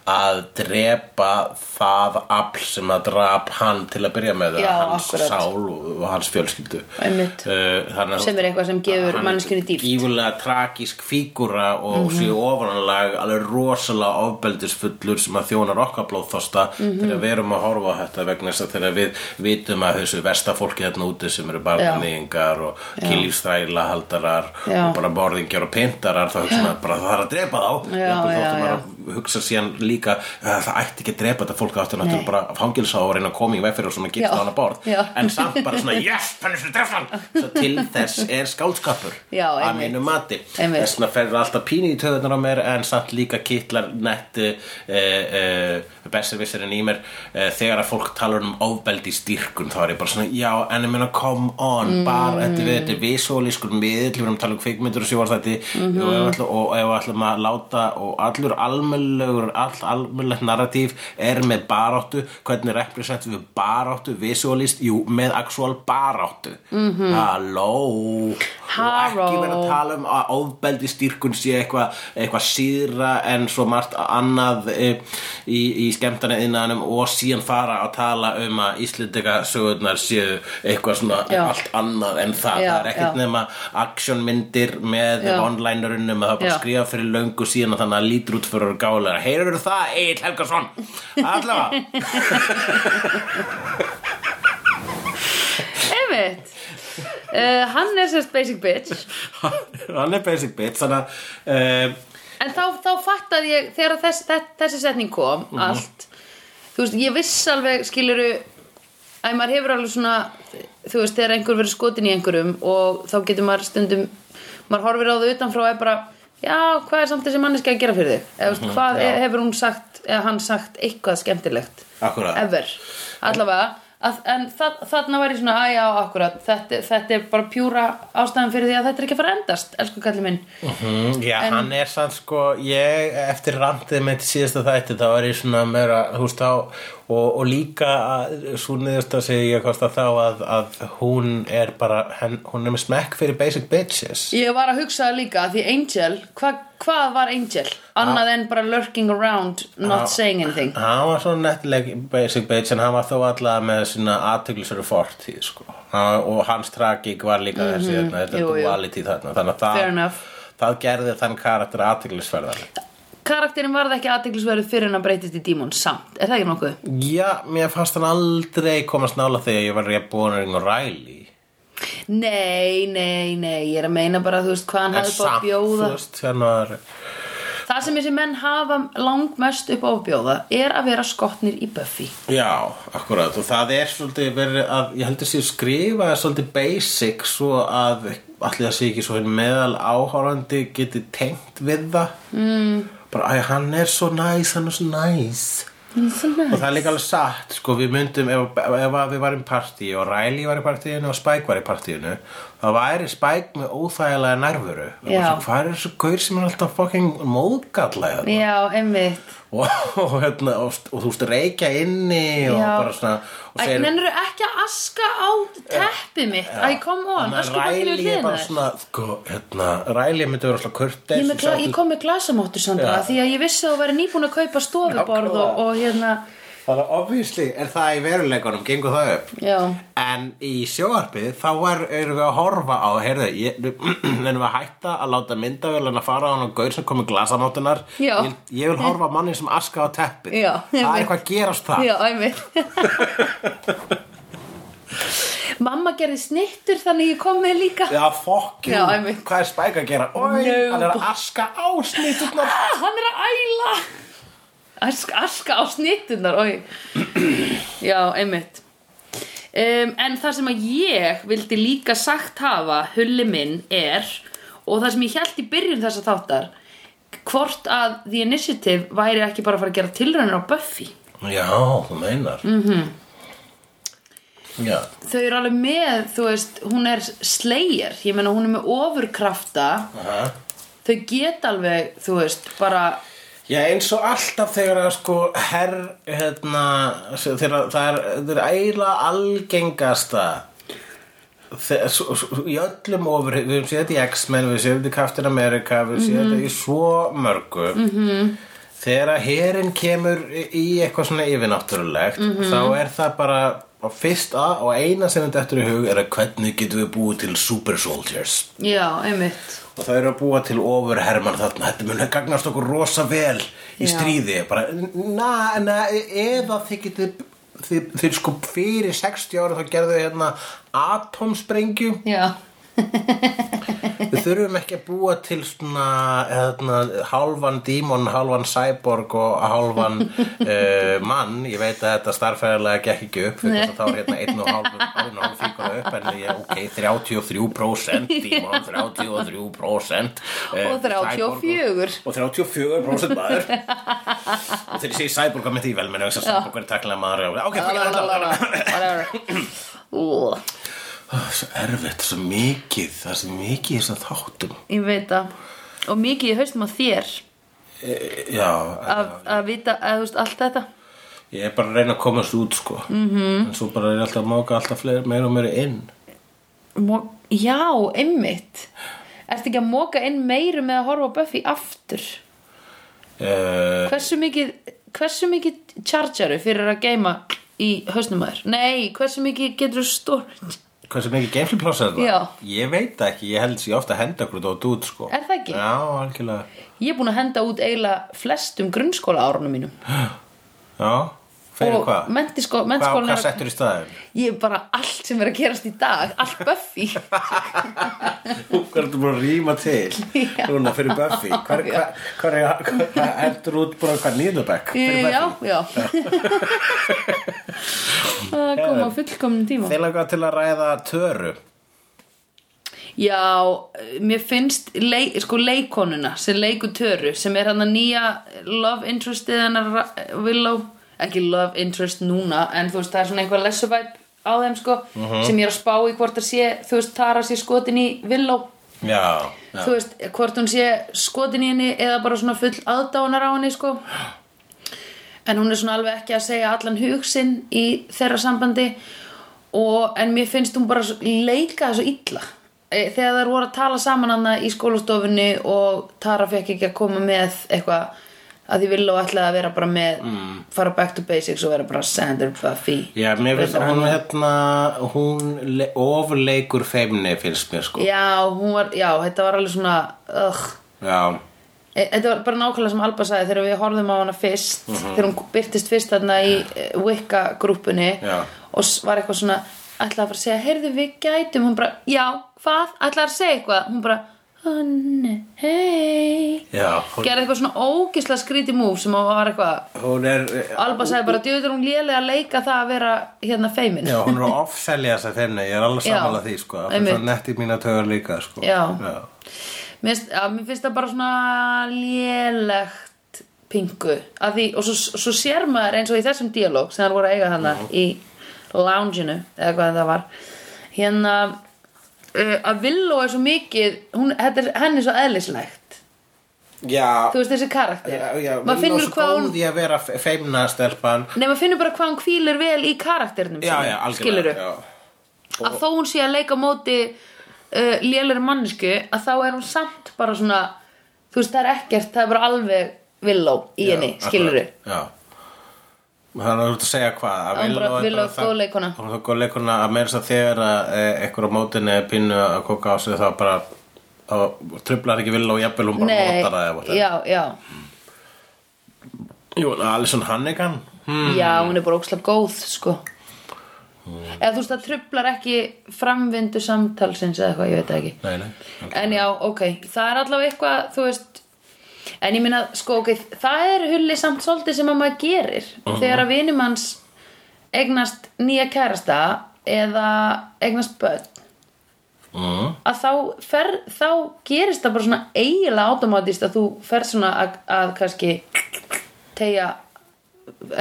B: að drepa það afl sem að drap hann til að byrja með
A: Já,
B: hans
A: akkurat.
B: sál og, og hans fjölskyldu
A: Einmitt.
B: Eh, þannig að
A: sem er eitthvað sem gefur Mhm.
B: hann er
A: manneskinu dýft
B: gífurlega tragísk fígúra og mm -hmm. sé ofananlag alveg rosalega ofbeldisfullur sem að þjónar okkar blóðþosta
A: Mhm.
B: þegar við erum að horfa á þetta vegna þess að þegar við vitum að þessu versta fólki þarna úti sem eru barnaðingar og kýlífstræla haldarar
A: Já.
B: og bara morðingjar og pyntarar þá hugsa maður bara það er að drepa þá
A: Já,
B: Jafnvel þótt
A: já,
B: að maður
A: já.
B: að hugsa síðan líka að það ætti ekki að drepa þetta fólk áttu náttúrulega
A: Nei.
B: bara að fangilsa og reyna að koma í veg fyrir og svona gifta
A: Já,
B: hana borð
A: já.
B: en samt bara svona yes, Punisher drefst hann svo til þess er skáldskapur
A: Já,
B: að
A: einmitt.
B: mínu mati
A: Einmitt.
B: þess vegna ferður alltaf pínu í töðunar á mér en samt líka kittlar netti e, e, besservisserinn í mér e, þegar að fólk talar um ofbeldi styrkun þá er ég bara svona já en ég meina come on bara þetta við þetta er visólískur miðl við erum að tala um kvikmyndur og sjóvarstætti mm -hmm. og, ef við ætlum- og ef við ætlum að láta og allur almennlegur all almennlegt narratív er með baráttu hvernig representum við baráttu visólíst, jú með actual baráttu mm -hmm. halló og ekki
A: Mhm. Halló.
B: vera að tala um að ofbeldi styrkun sé eitthvað eitthva síðra en svo margt annað e, í, í skemmtana innanum og síðan fara að tala um að Íslendika sögurnar séu eitthvað svona
A: Já.
B: allt annað en það,
A: Já,
B: það er ekkert
A: já.
B: nema actionmyndir með
A: Já.
B: onlinerunum að það er bara
A: Já.
B: skrifa fyrir löngu síðan og þannig að lítur út fyrir gálega heyrur það Egil Helgason allavega
A: Einmitt uh, Hann er sérst basic bitch
B: hann er basic bitch þannig að uh,
A: En þá, þá fattaði ég þegar þess, þess, þessi setning kom
B: Mhm.
A: allt þú veist, ég viss alveg skiluru að maður hefur alveg svona þú veist, þegar einhver verður skotin í einhverjum og þá getur maður stundum maður horfir á þau utanfrá og er bara já, hvað er samt þessi manneski að gera fyrir þig eða mm hvað
B: Mhm, já.
A: e- hefur hún sagt eða hann sagt eitthvað skemmtilegt
B: Akkúrat.
A: ever, allavega að, en það, þarna væri svona, að já, akkurat þetta, þetta er bara pjúra ástæðan fyrir því að þetta er ekki að fara að endast, elsku kallið minn
B: Mm, já, hann er sann sko ég, eftir randið með til síðasta þætti þá er ég svona meira, þú veist þá og, og líka að, svo niðurst að segja ég kosta þá að, að hún er bara, henn, hún er með smekk fyrir basic bitches
A: Ég var að hugsa það líka að því Angel, hva, hvað var Angel? Annað en bara lurking around, not
B: Ah.
A: saying anything.
B: hann var svona nettileg basic bitch en hann var þó allavega með svona aðtöklisveru fortíð sko Hann- og hans tragík var líka þessi þarna, þetta
A: Mhm. Jú, jú.
B: duality þarna þannig að
A: Fair
B: það,
A: enough.
B: það gerði þann karakter aðtöklisverðan
A: Karakterin varð ekki aðteglisverið fyrir en að breytist í dímon samt, er það ekki nokkuð?
B: Já, mér fannst hann aldrei komast nála þegar ég var rétt búin að ringa Riley
A: Nei, nei, nei, ég er að meina bara þú veist hvað hann
B: En
A: hafði upp á að
B: samt,
A: bjóða.
B: þú veist, hérna var
A: Það sem þessi menn hafa langmest upp á að bjóða er að vera skotnir í Buffy.
B: Já, akkurat, og það er svolítið verið að, ég heldur sér skrifa svolítið basic svo að allir að sé ekki svo hinn meðal áhorandi geti tengt við það mm. bara, æ, hann er svo næs, hann er svo næs og það er líka alveg satt, sko, við myndum ef, ef að við varum í partíu og Riley var í partíinu og Spike var í partíinu þá væri Spike með óþægilega nærvöru
A: Já.
B: hvað er þessu gaur sem er alltaf fucking móðgalla eða
A: Já, einmitt.
B: og, og, hérna, og, st- og þú veist reykja inni og
A: Já.
B: bara svona og
A: Æ, Nennirðu ekki að aska á teppið mitt? Æ, come on, asku bakkinu við
B: ræli
A: hliðina
B: bara
A: þér.
B: svona sko, hérna, ræli myndi vera svona
A: Ég,
B: kurteis
A: með gla, ég kom með glasamóttu Sandra
B: Já.
A: því að ég vissi að þú væri nýbúin að kaupa stofuborð og, og hérna
B: það er obvísli er það í veruleikunum, gengur það upp
A: já,
B: en í sjóarpið þá var erum við að horfa á heyrðu, ég, erum við að hætta að láta myndavélana fara á hann og gaur sem komið glasamáttunar
A: Já.
B: ég, ég vil horfa á manni sem aska á teppið
A: Já,
B: það er
A: einmitt.
B: eitthvað að gerast það
A: já, æmið Mamma gerði snittur þannig ég kom með líka
B: Já, fuck you.
A: Já, einmitt.
B: Hvað er Spike að gera? Oi,
A: No.
B: hann er að aska á snýtturnar
A: ah, Hann er að æla Aska, aska á snittunar oi. Já, einmitt um, En það sem að ég vildi líka sagt hafa hulli minn er og það sem ég held í byrjun þessa þáttar hvort að The Initiative væri ekki bara að fara að gera tilraunir á Buffy
B: Já, þú meinar mm
A: Mhm.
B: -hmm. Já,
A: þau eru alveg með, þú veist, hún er slegir, ég meina hún er með ofurkrafta
B: aha
A: þau geta alveg, þú veist, bara
B: Já, eins og alltaf þegar að sko herr, hérna, þegar það er, það er eiginlega algengasta Þe- svo- svo- í öllum ofur, við höfum séð þetta í X-Men, við séum þetta í Captain America, við höfum séð þetta í svo mörgu. -hmm. Þegar að herinn kemur í í eitthvað svona yfirnáttúrulegt, þá er það bara og fyrsta og eina sem þetta eftir í hug er að hvernig getum við búið til super soldiers
A: já, einmitt
B: og það eru að búa til ofur hermann þarna þetta mun að gagnast okkur rosa vel í
A: Já.
B: stríði bara, na, na, eða þið getið þið, þið sko fyrir 60 ára þá gerðu þau hérna atomsprengju
A: já,
B: við þurfum ekki að búa til svona hérna, hálfan dímon, hálfan cyborg og hálfan uh, mann ég veit að þetta starffæðarlega gekk ekki upp fyrir þess að þá er hérna einn og hálfur einn og hálfur fíkur upp en ég, ok, 33% dímon, 33% eh,
A: Og 34.
B: cyborg og, og 34% maður og þegar ég segi cyborg að með því vel menn þess að cyborg er takkilega maður ok,
A: whatever Ú,
B: það er svo erfitt, svo mikið það er svo mikið þess að þáttum
A: ég veit það og mikið í haustum á þér
B: Eh, já,
A: að, að vita, að þú veist, allt þetta
B: Ég er bara að reyna að komast út sko
A: Mhm.
B: -hmm. En svo bara er ég alltaf að móka alltaf fleiri, meira og meira inn
A: Mo já, einmitt ertu ekki að móka inn meiru með að horfa á Buffy aftur
B: uh,
A: hversu mikið hversu mikið chargeru fyrir að geima í hausnum að þér? Nei, hversu mikið getur storage?
B: Hversu mikið gamefliplása þetta?
A: Já.
B: Ég veit það ekki, ég held sér ofta að henda okkur dótt út sko
A: Er það ekki?
B: Já, algjörlega
A: Ég er búin að henda út eiginlega flestum grunnskóla árunum mínum
B: Já, fyrir
A: og
B: hvað?
A: mentiskó,
B: Hvað,
A: mentiskólan
B: hvað settur í staðin?
A: Ég er bara allt sem er að gerast í dag Allt Buffy
B: Hvað er þetta búin að rýma til?
A: Já.
B: Núna fyrir Buffy Hvað
A: Já.
B: hva, hva, hva, hva hendur út bara hvað nýðubæk?
A: Eh, Já, já Það kom á fullkomnum tíma
B: Þeir langar til að ræða töru
A: Já, mér finnst leik, sko leikonuna sem leikur töru sem er hann að nýja love interestið hennar Ra- Willow ekki love interest núna en þú veist það er svona eitthvað lessuvæp á þeim sko sem ég er að spá í hvort að sé þú veist Tara sé skotin í Willow
B: já, já.
A: þú veist hvort hún sé skotin í henni eða bara svona full aðdánar á henni sko en hún er svona alveg ekki að segja allan hug sinn í þeirra sambandi og, en mér finnst hún bara svo- leika svo illa E, þegar þær voru að tala saman hana í skólastofunni og Tara fekk ekki að koma með eitthvað að því vilja og ætlaði að vera bara með fara back to basics og vera bara Sandra Buffy
B: Mm. Já, mér finnst
A: Reyndar
B: hún hérna, hún le, ofleikur feimni finnst mér sko.
A: já, hún var, já, þetta var alveg svona ugh,
B: Já,
A: E- Þetta var bara nákvæmlega sem Alba sagði þegar við horfðum á hana fyrst
B: Mhm.
A: þegar hún byrtist fyrst þarna í eh, Wicca grúppunni
B: Já.
A: og s- var eitthvað svona ætlaði að fara að segja, heyrðu við gætum hún bara, já, hvað, ætlaði að segja eitthvað hún bara, hann, hei
B: já, hún,
A: gerði eitthvað svona ógisla skríti múf sem hún var eitthvað
B: hún er, eh,
A: Alba sagði bara, djöður hún lélega að leika það að vera hérna feimin
B: já, hún er að offselja þess að feimni, ég er alveg
A: Já,
B: sammála því sko. Það
A: einmitt.
B: er nett í mína tögur líka sko.
A: Já. Mér finnst, að, mér finnst það bara svona lélegt pingu að því, og svo, svo sér maður eins og í þessum dialóg sem hann voru að eiga hana í loungeinu eða hvað það var hérna uh, að Villó er svo mikið hún, þetta er, henni er svo eðlislegt
B: Já,
A: þú veist þessi karakter
B: já, já
A: maður finnur hvað hún
B: Hún í að vera fe- feimna stelpan
A: Nei, maður finnur bara hvað hún hvílir vel í karakternum
B: Já,
A: sínum,
B: já, algjörlega
A: skilurðu?
B: já.
A: að þó hún sé að leika á móti uh, lélir mannesku að þá er hún samt bara svona þú veist það er ekkert, það er bara alveg villó í
B: Já,
A: henni, skilur
B: akkurat, Já Það er út að segja hvað að
A: Að hún
B: Willow
A: bara-
B: er
A: Willow
B: það-
A: góð leikona.
B: Hún er góð leikona að meira þess að þegar að e, ekkur á mótinu er pinnu að koka á sig þá bara þá trublar ekki Willow jafnvel hún bara
A: Nei,
B: mótar það eða whatever.
A: já, já,
B: Jú, Alison Hannigan hm.
A: já, hún er bara ókslega góð sko
B: Hmm.
A: eða þú veist það trublar ekki framvindu samtalsins eða eitthvað, ég veit það ekki
B: Nei, nei
A: En já, ok, það er allavega eitthvað, þú veist En ég minna, sko, ok, það er hulli samt svolítið sem að maður gerir Þegar að vinum hans eignast nýja kærasta eða eignast börn
B: mm.
A: að þá, fer, þá gerist það bara svona eiginlega automatist að þú fer svona að, að kannski tegja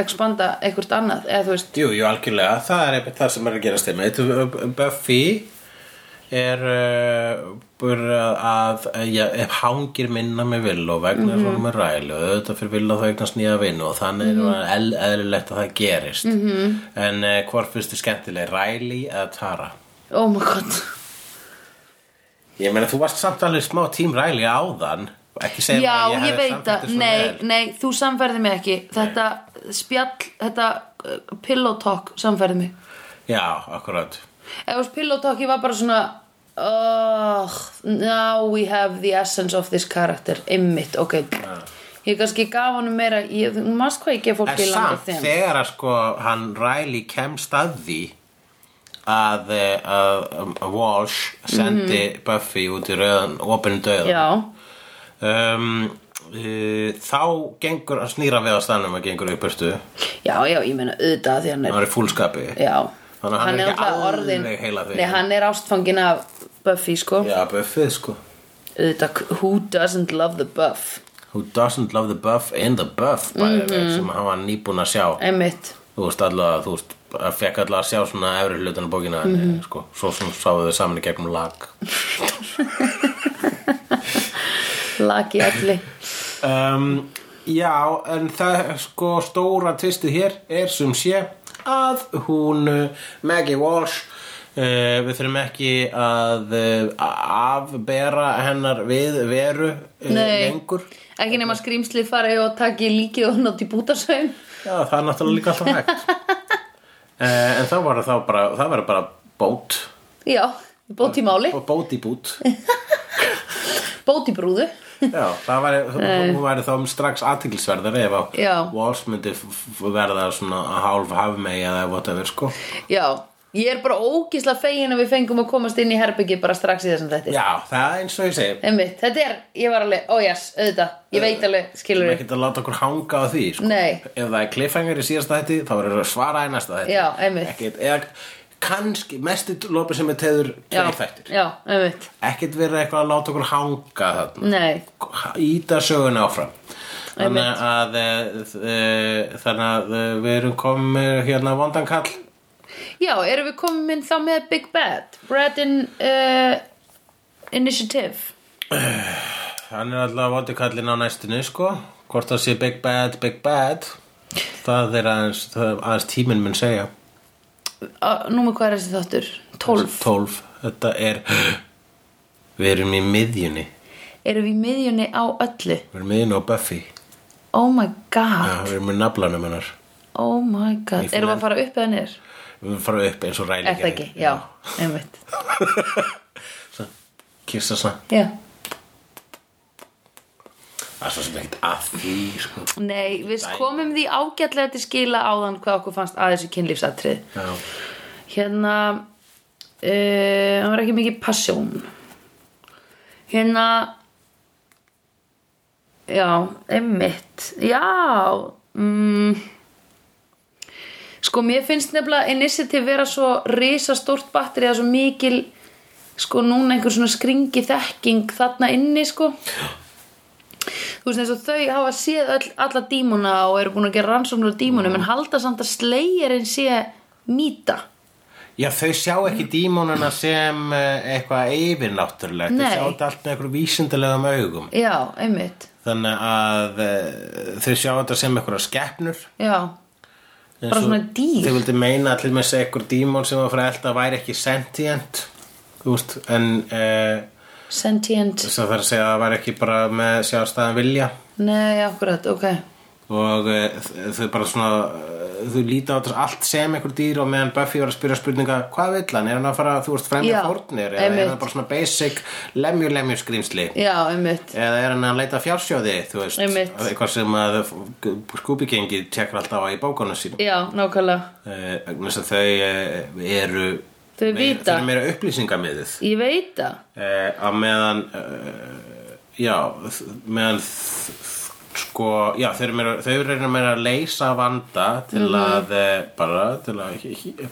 A: expanda eitthvað annað eða þú veist,
B: Jú, jú, algjörlega, það er einmitt það sem er að gera stemmi Buffy er uh, bara að eh, já, ef hangir minna með Willow vegna mm -hmm. svona með
A: Mhm.
B: rælu og auðvitað fyrir Willow þá eignast nýja vinu og þannig mm -hmm. er það eðlilegt að það gerist -hmm.
A: Mhm.
B: en uh, hvort fyrst er skemmtileg Riley eða Tara?
A: oh my god
B: Ég meina, þú varst samt alveg smá tím Riley áðan ekki segja
A: Já,
B: mér að
A: ég,
B: hefði
A: veit
B: samþykkt
A: að,
B: þig svona
A: nei,
B: vel.
A: nei, þú samferði mig ekki Þetta spjall, þetta uh, pillow talk samferði mig
B: Já, akkurat
A: Ef þú veist, pillow talk, ég var bara svona oh, Now we have the essence of this character Einmitt, ok Ég kannski gaf honum meira ég, Þú maður hvað ég gef
B: En
A: fólki í langa
B: samt,
A: þeim
B: þegar að sko hann Riley kemst að því að, eh, að, að Walsh sendi
A: Mhm.
B: Buffy út í rauðan opinu döðan
A: Já,
B: um, uh, þá gengur að snýra við á stannum að gengur upp ertu
A: já, já, ég meina auðvitað því hann
B: hann
A: er
B: er í fúlskapi
A: Já,
B: Þannig að hann er ekki
A: náttúrulega
B: alveg heila þig.
A: Nei, hann er ástfangin af Buffy, sko
B: Já, Buffy sko
A: Auðvitað, who doesn't love the buff
B: Who doesn't love the buff in the buff bæði,
A: Mhm.
B: mm. sem hann var nýbúinn að sjá
A: Einmitt
B: þú veist allavega, þú veist að fekk allavega að sjá svona efri hlutan á bókina mm
A: Mhm.
B: sko, svo sem sáðu þau saman í gegnum lag
A: Laki allir
B: um, Já, en það sko stóra tvistið hér er sem sé að hún uh, Maggie Walsh uh, við þurfum ekki að uh, afbera hennar við veru uh,
A: Nei.
B: lengur
A: Ekki nema skrýmslið fari og taki líkið og nátt í bútasaum
B: Já, það er náttúrulega líka alltaf hægt uh, En það var þá bara það var bara bót
A: Já, bót í máli,
B: og bót í bút
A: bót í brúðu
B: Já, það væri, hún væri þá strax aðtiklisverðar ef að
A: Já.
B: Walsh myndi f- f- verða svona hálf hafmegi eða whatever sko
A: Já, ég er bara ógisla fegin að við fengum að komast inn í herbyggi bara strax í þessum þetta
B: Já, það er eins og ég segi
A: Einmitt, þetta er, ég var alveg, ó oh yes, auðvitað Ég
B: Eh,
A: veit alveg,
B: Við
A: skilur
B: erum ekkert að láta okkur hanga á því sko.
A: Nei.
B: Ef það er cliffhanger í síðasta þætti Þá verður að svara í næsta þætti
A: Já, einmitt.
B: Ekkert- eða, kannski mestu lopi sem er teður
A: já,
B: tveir þættir
A: já, einmitt
B: ekkert verið eitthvað að láta okkur hanga þarna
A: nei,
B: íta söguna áfram
A: Einmitt.
B: þannig að e, e, þannig að e, við erum komið hérna vondan kall
A: já, erum við komin þá með Big Bad Brad in uh, Initiative
B: hann er alltaf vondi kallinn á næstinu sko hvort það sé big bad, big bad það er aðeins, það er aðeins tíminn mun segja
A: uh, númer hvað er þessi þáttur? 12
B: 12, þetta er við erum í miðjunni við
A: erum við í miðjunni á öllu
B: erum í miðjunni á Buffy
A: oh my
B: Já,
A: god,
B: við erum í naflanum hennar
A: oh my god
B: Ég finn
A: erum við
B: að-
A: að fara upp eða niður?
B: við erum fara upp eins og rælingi
A: er það ekki, já, einmitt
B: kissa svona,
A: já.
B: það er svo sem ekkert að því sko.
A: nei, við komum því ágætlega til skila áðan hvað okkur fannst að þessu kynlífsatrið
B: já,
A: hérna uh, hann var ekki mikið passjón hérna já, einmitt já mm. sko mér finnst nefnilega initiative vera svo risastórt batteri eða svo mikil sko núna einhver svona skringi þekking þarna inni sko þú veist eins og þau hafa séð öll, alla dímuna og eru búin að gera rannsóknur á dímunum en halda samt að slegirinn sé mýta
B: já, þau sjá ekki dímonuna sem eh, eitthvað yfirnáttúrulegt þau
A: Nei.
B: sjá þetta allt með einhverjum vísindalegum augum
A: Já, einmitt
B: þannig að eh, þau sjá þetta sem einhverja skepnur
A: Já,
B: En
A: Bara
B: svo-
A: svona dýr.
B: þau vildi meina allir með segja einhver dímon sem var frá elda væri ekki sentient þú veist, en eh,
A: sentient
B: þess að það er að segja að það væri ekki bara með sjálfstæðan vilja
A: Nei, akkurat, ok
B: og eh, þ- þau bara svona eh, þau líta á þetta allt sem einhver dýr og meðan Buffy var að spyrja spurninga hvað vill hann, er hann að fara, þú veist, fremja
A: Já,
B: fórnir eða
A: einmitt.
B: er hann bara svona basic lemju lemju skrýmsli
A: Já, einmitt
B: eða er hann að leita fjársjóði, þú veist
A: Einmitt.
B: eitthvað sem að skúbigengi tekur alltaf á í bókunum sínum
A: Já, nákvæmlega
B: eh, vegna þess að þau eh, eru
A: Þau
B: meira-
A: vita.
B: þau eru meira upplýsingamiðið
A: Ég veit það
B: eh, að meðan eh, já, þ- meðan þ- þ- sko, já, þau eru meira, þau eru meira að leysa vanda til að eh, bara, til að,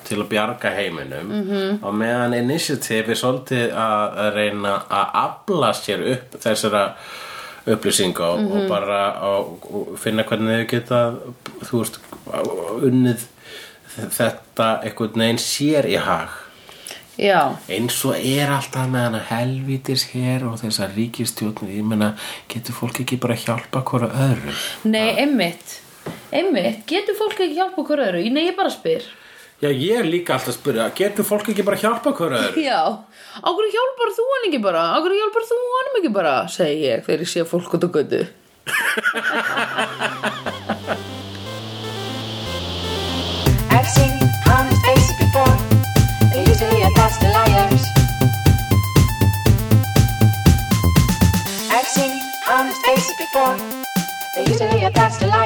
B: til að bjarga heiminum -hmm. og meðan initiative er svolítið að að reyna að afla sér upp þessara upplýsinga og, og bara og, og finna hvernig þau geta þú veist, unnið þetta einhvern veginn sér í hag
A: Já,
B: eins og er alltaf með hana helvítis hér og þessar ríkistjóðnir ég meina, getur fólk ekki bara að hjálpa hvora öðru
A: nei, einmitt Einmitt, getur fólk ekki hjálpa okkur öðru? Nei, ég bara spyr
B: Já, ég er líka alltaf að spyrja, getur fólk ekki bara að hjálpa hvora öðru?
A: Já, okkur hjálpar þú hann ekki bara Okkur hjálpar þú honum ekki bara segi ég þegar ég sé fólk út á götu
C: I've seen honest faces before. They're usually a pass to liars. I've seen honest faces before. They're usually a pass to liars.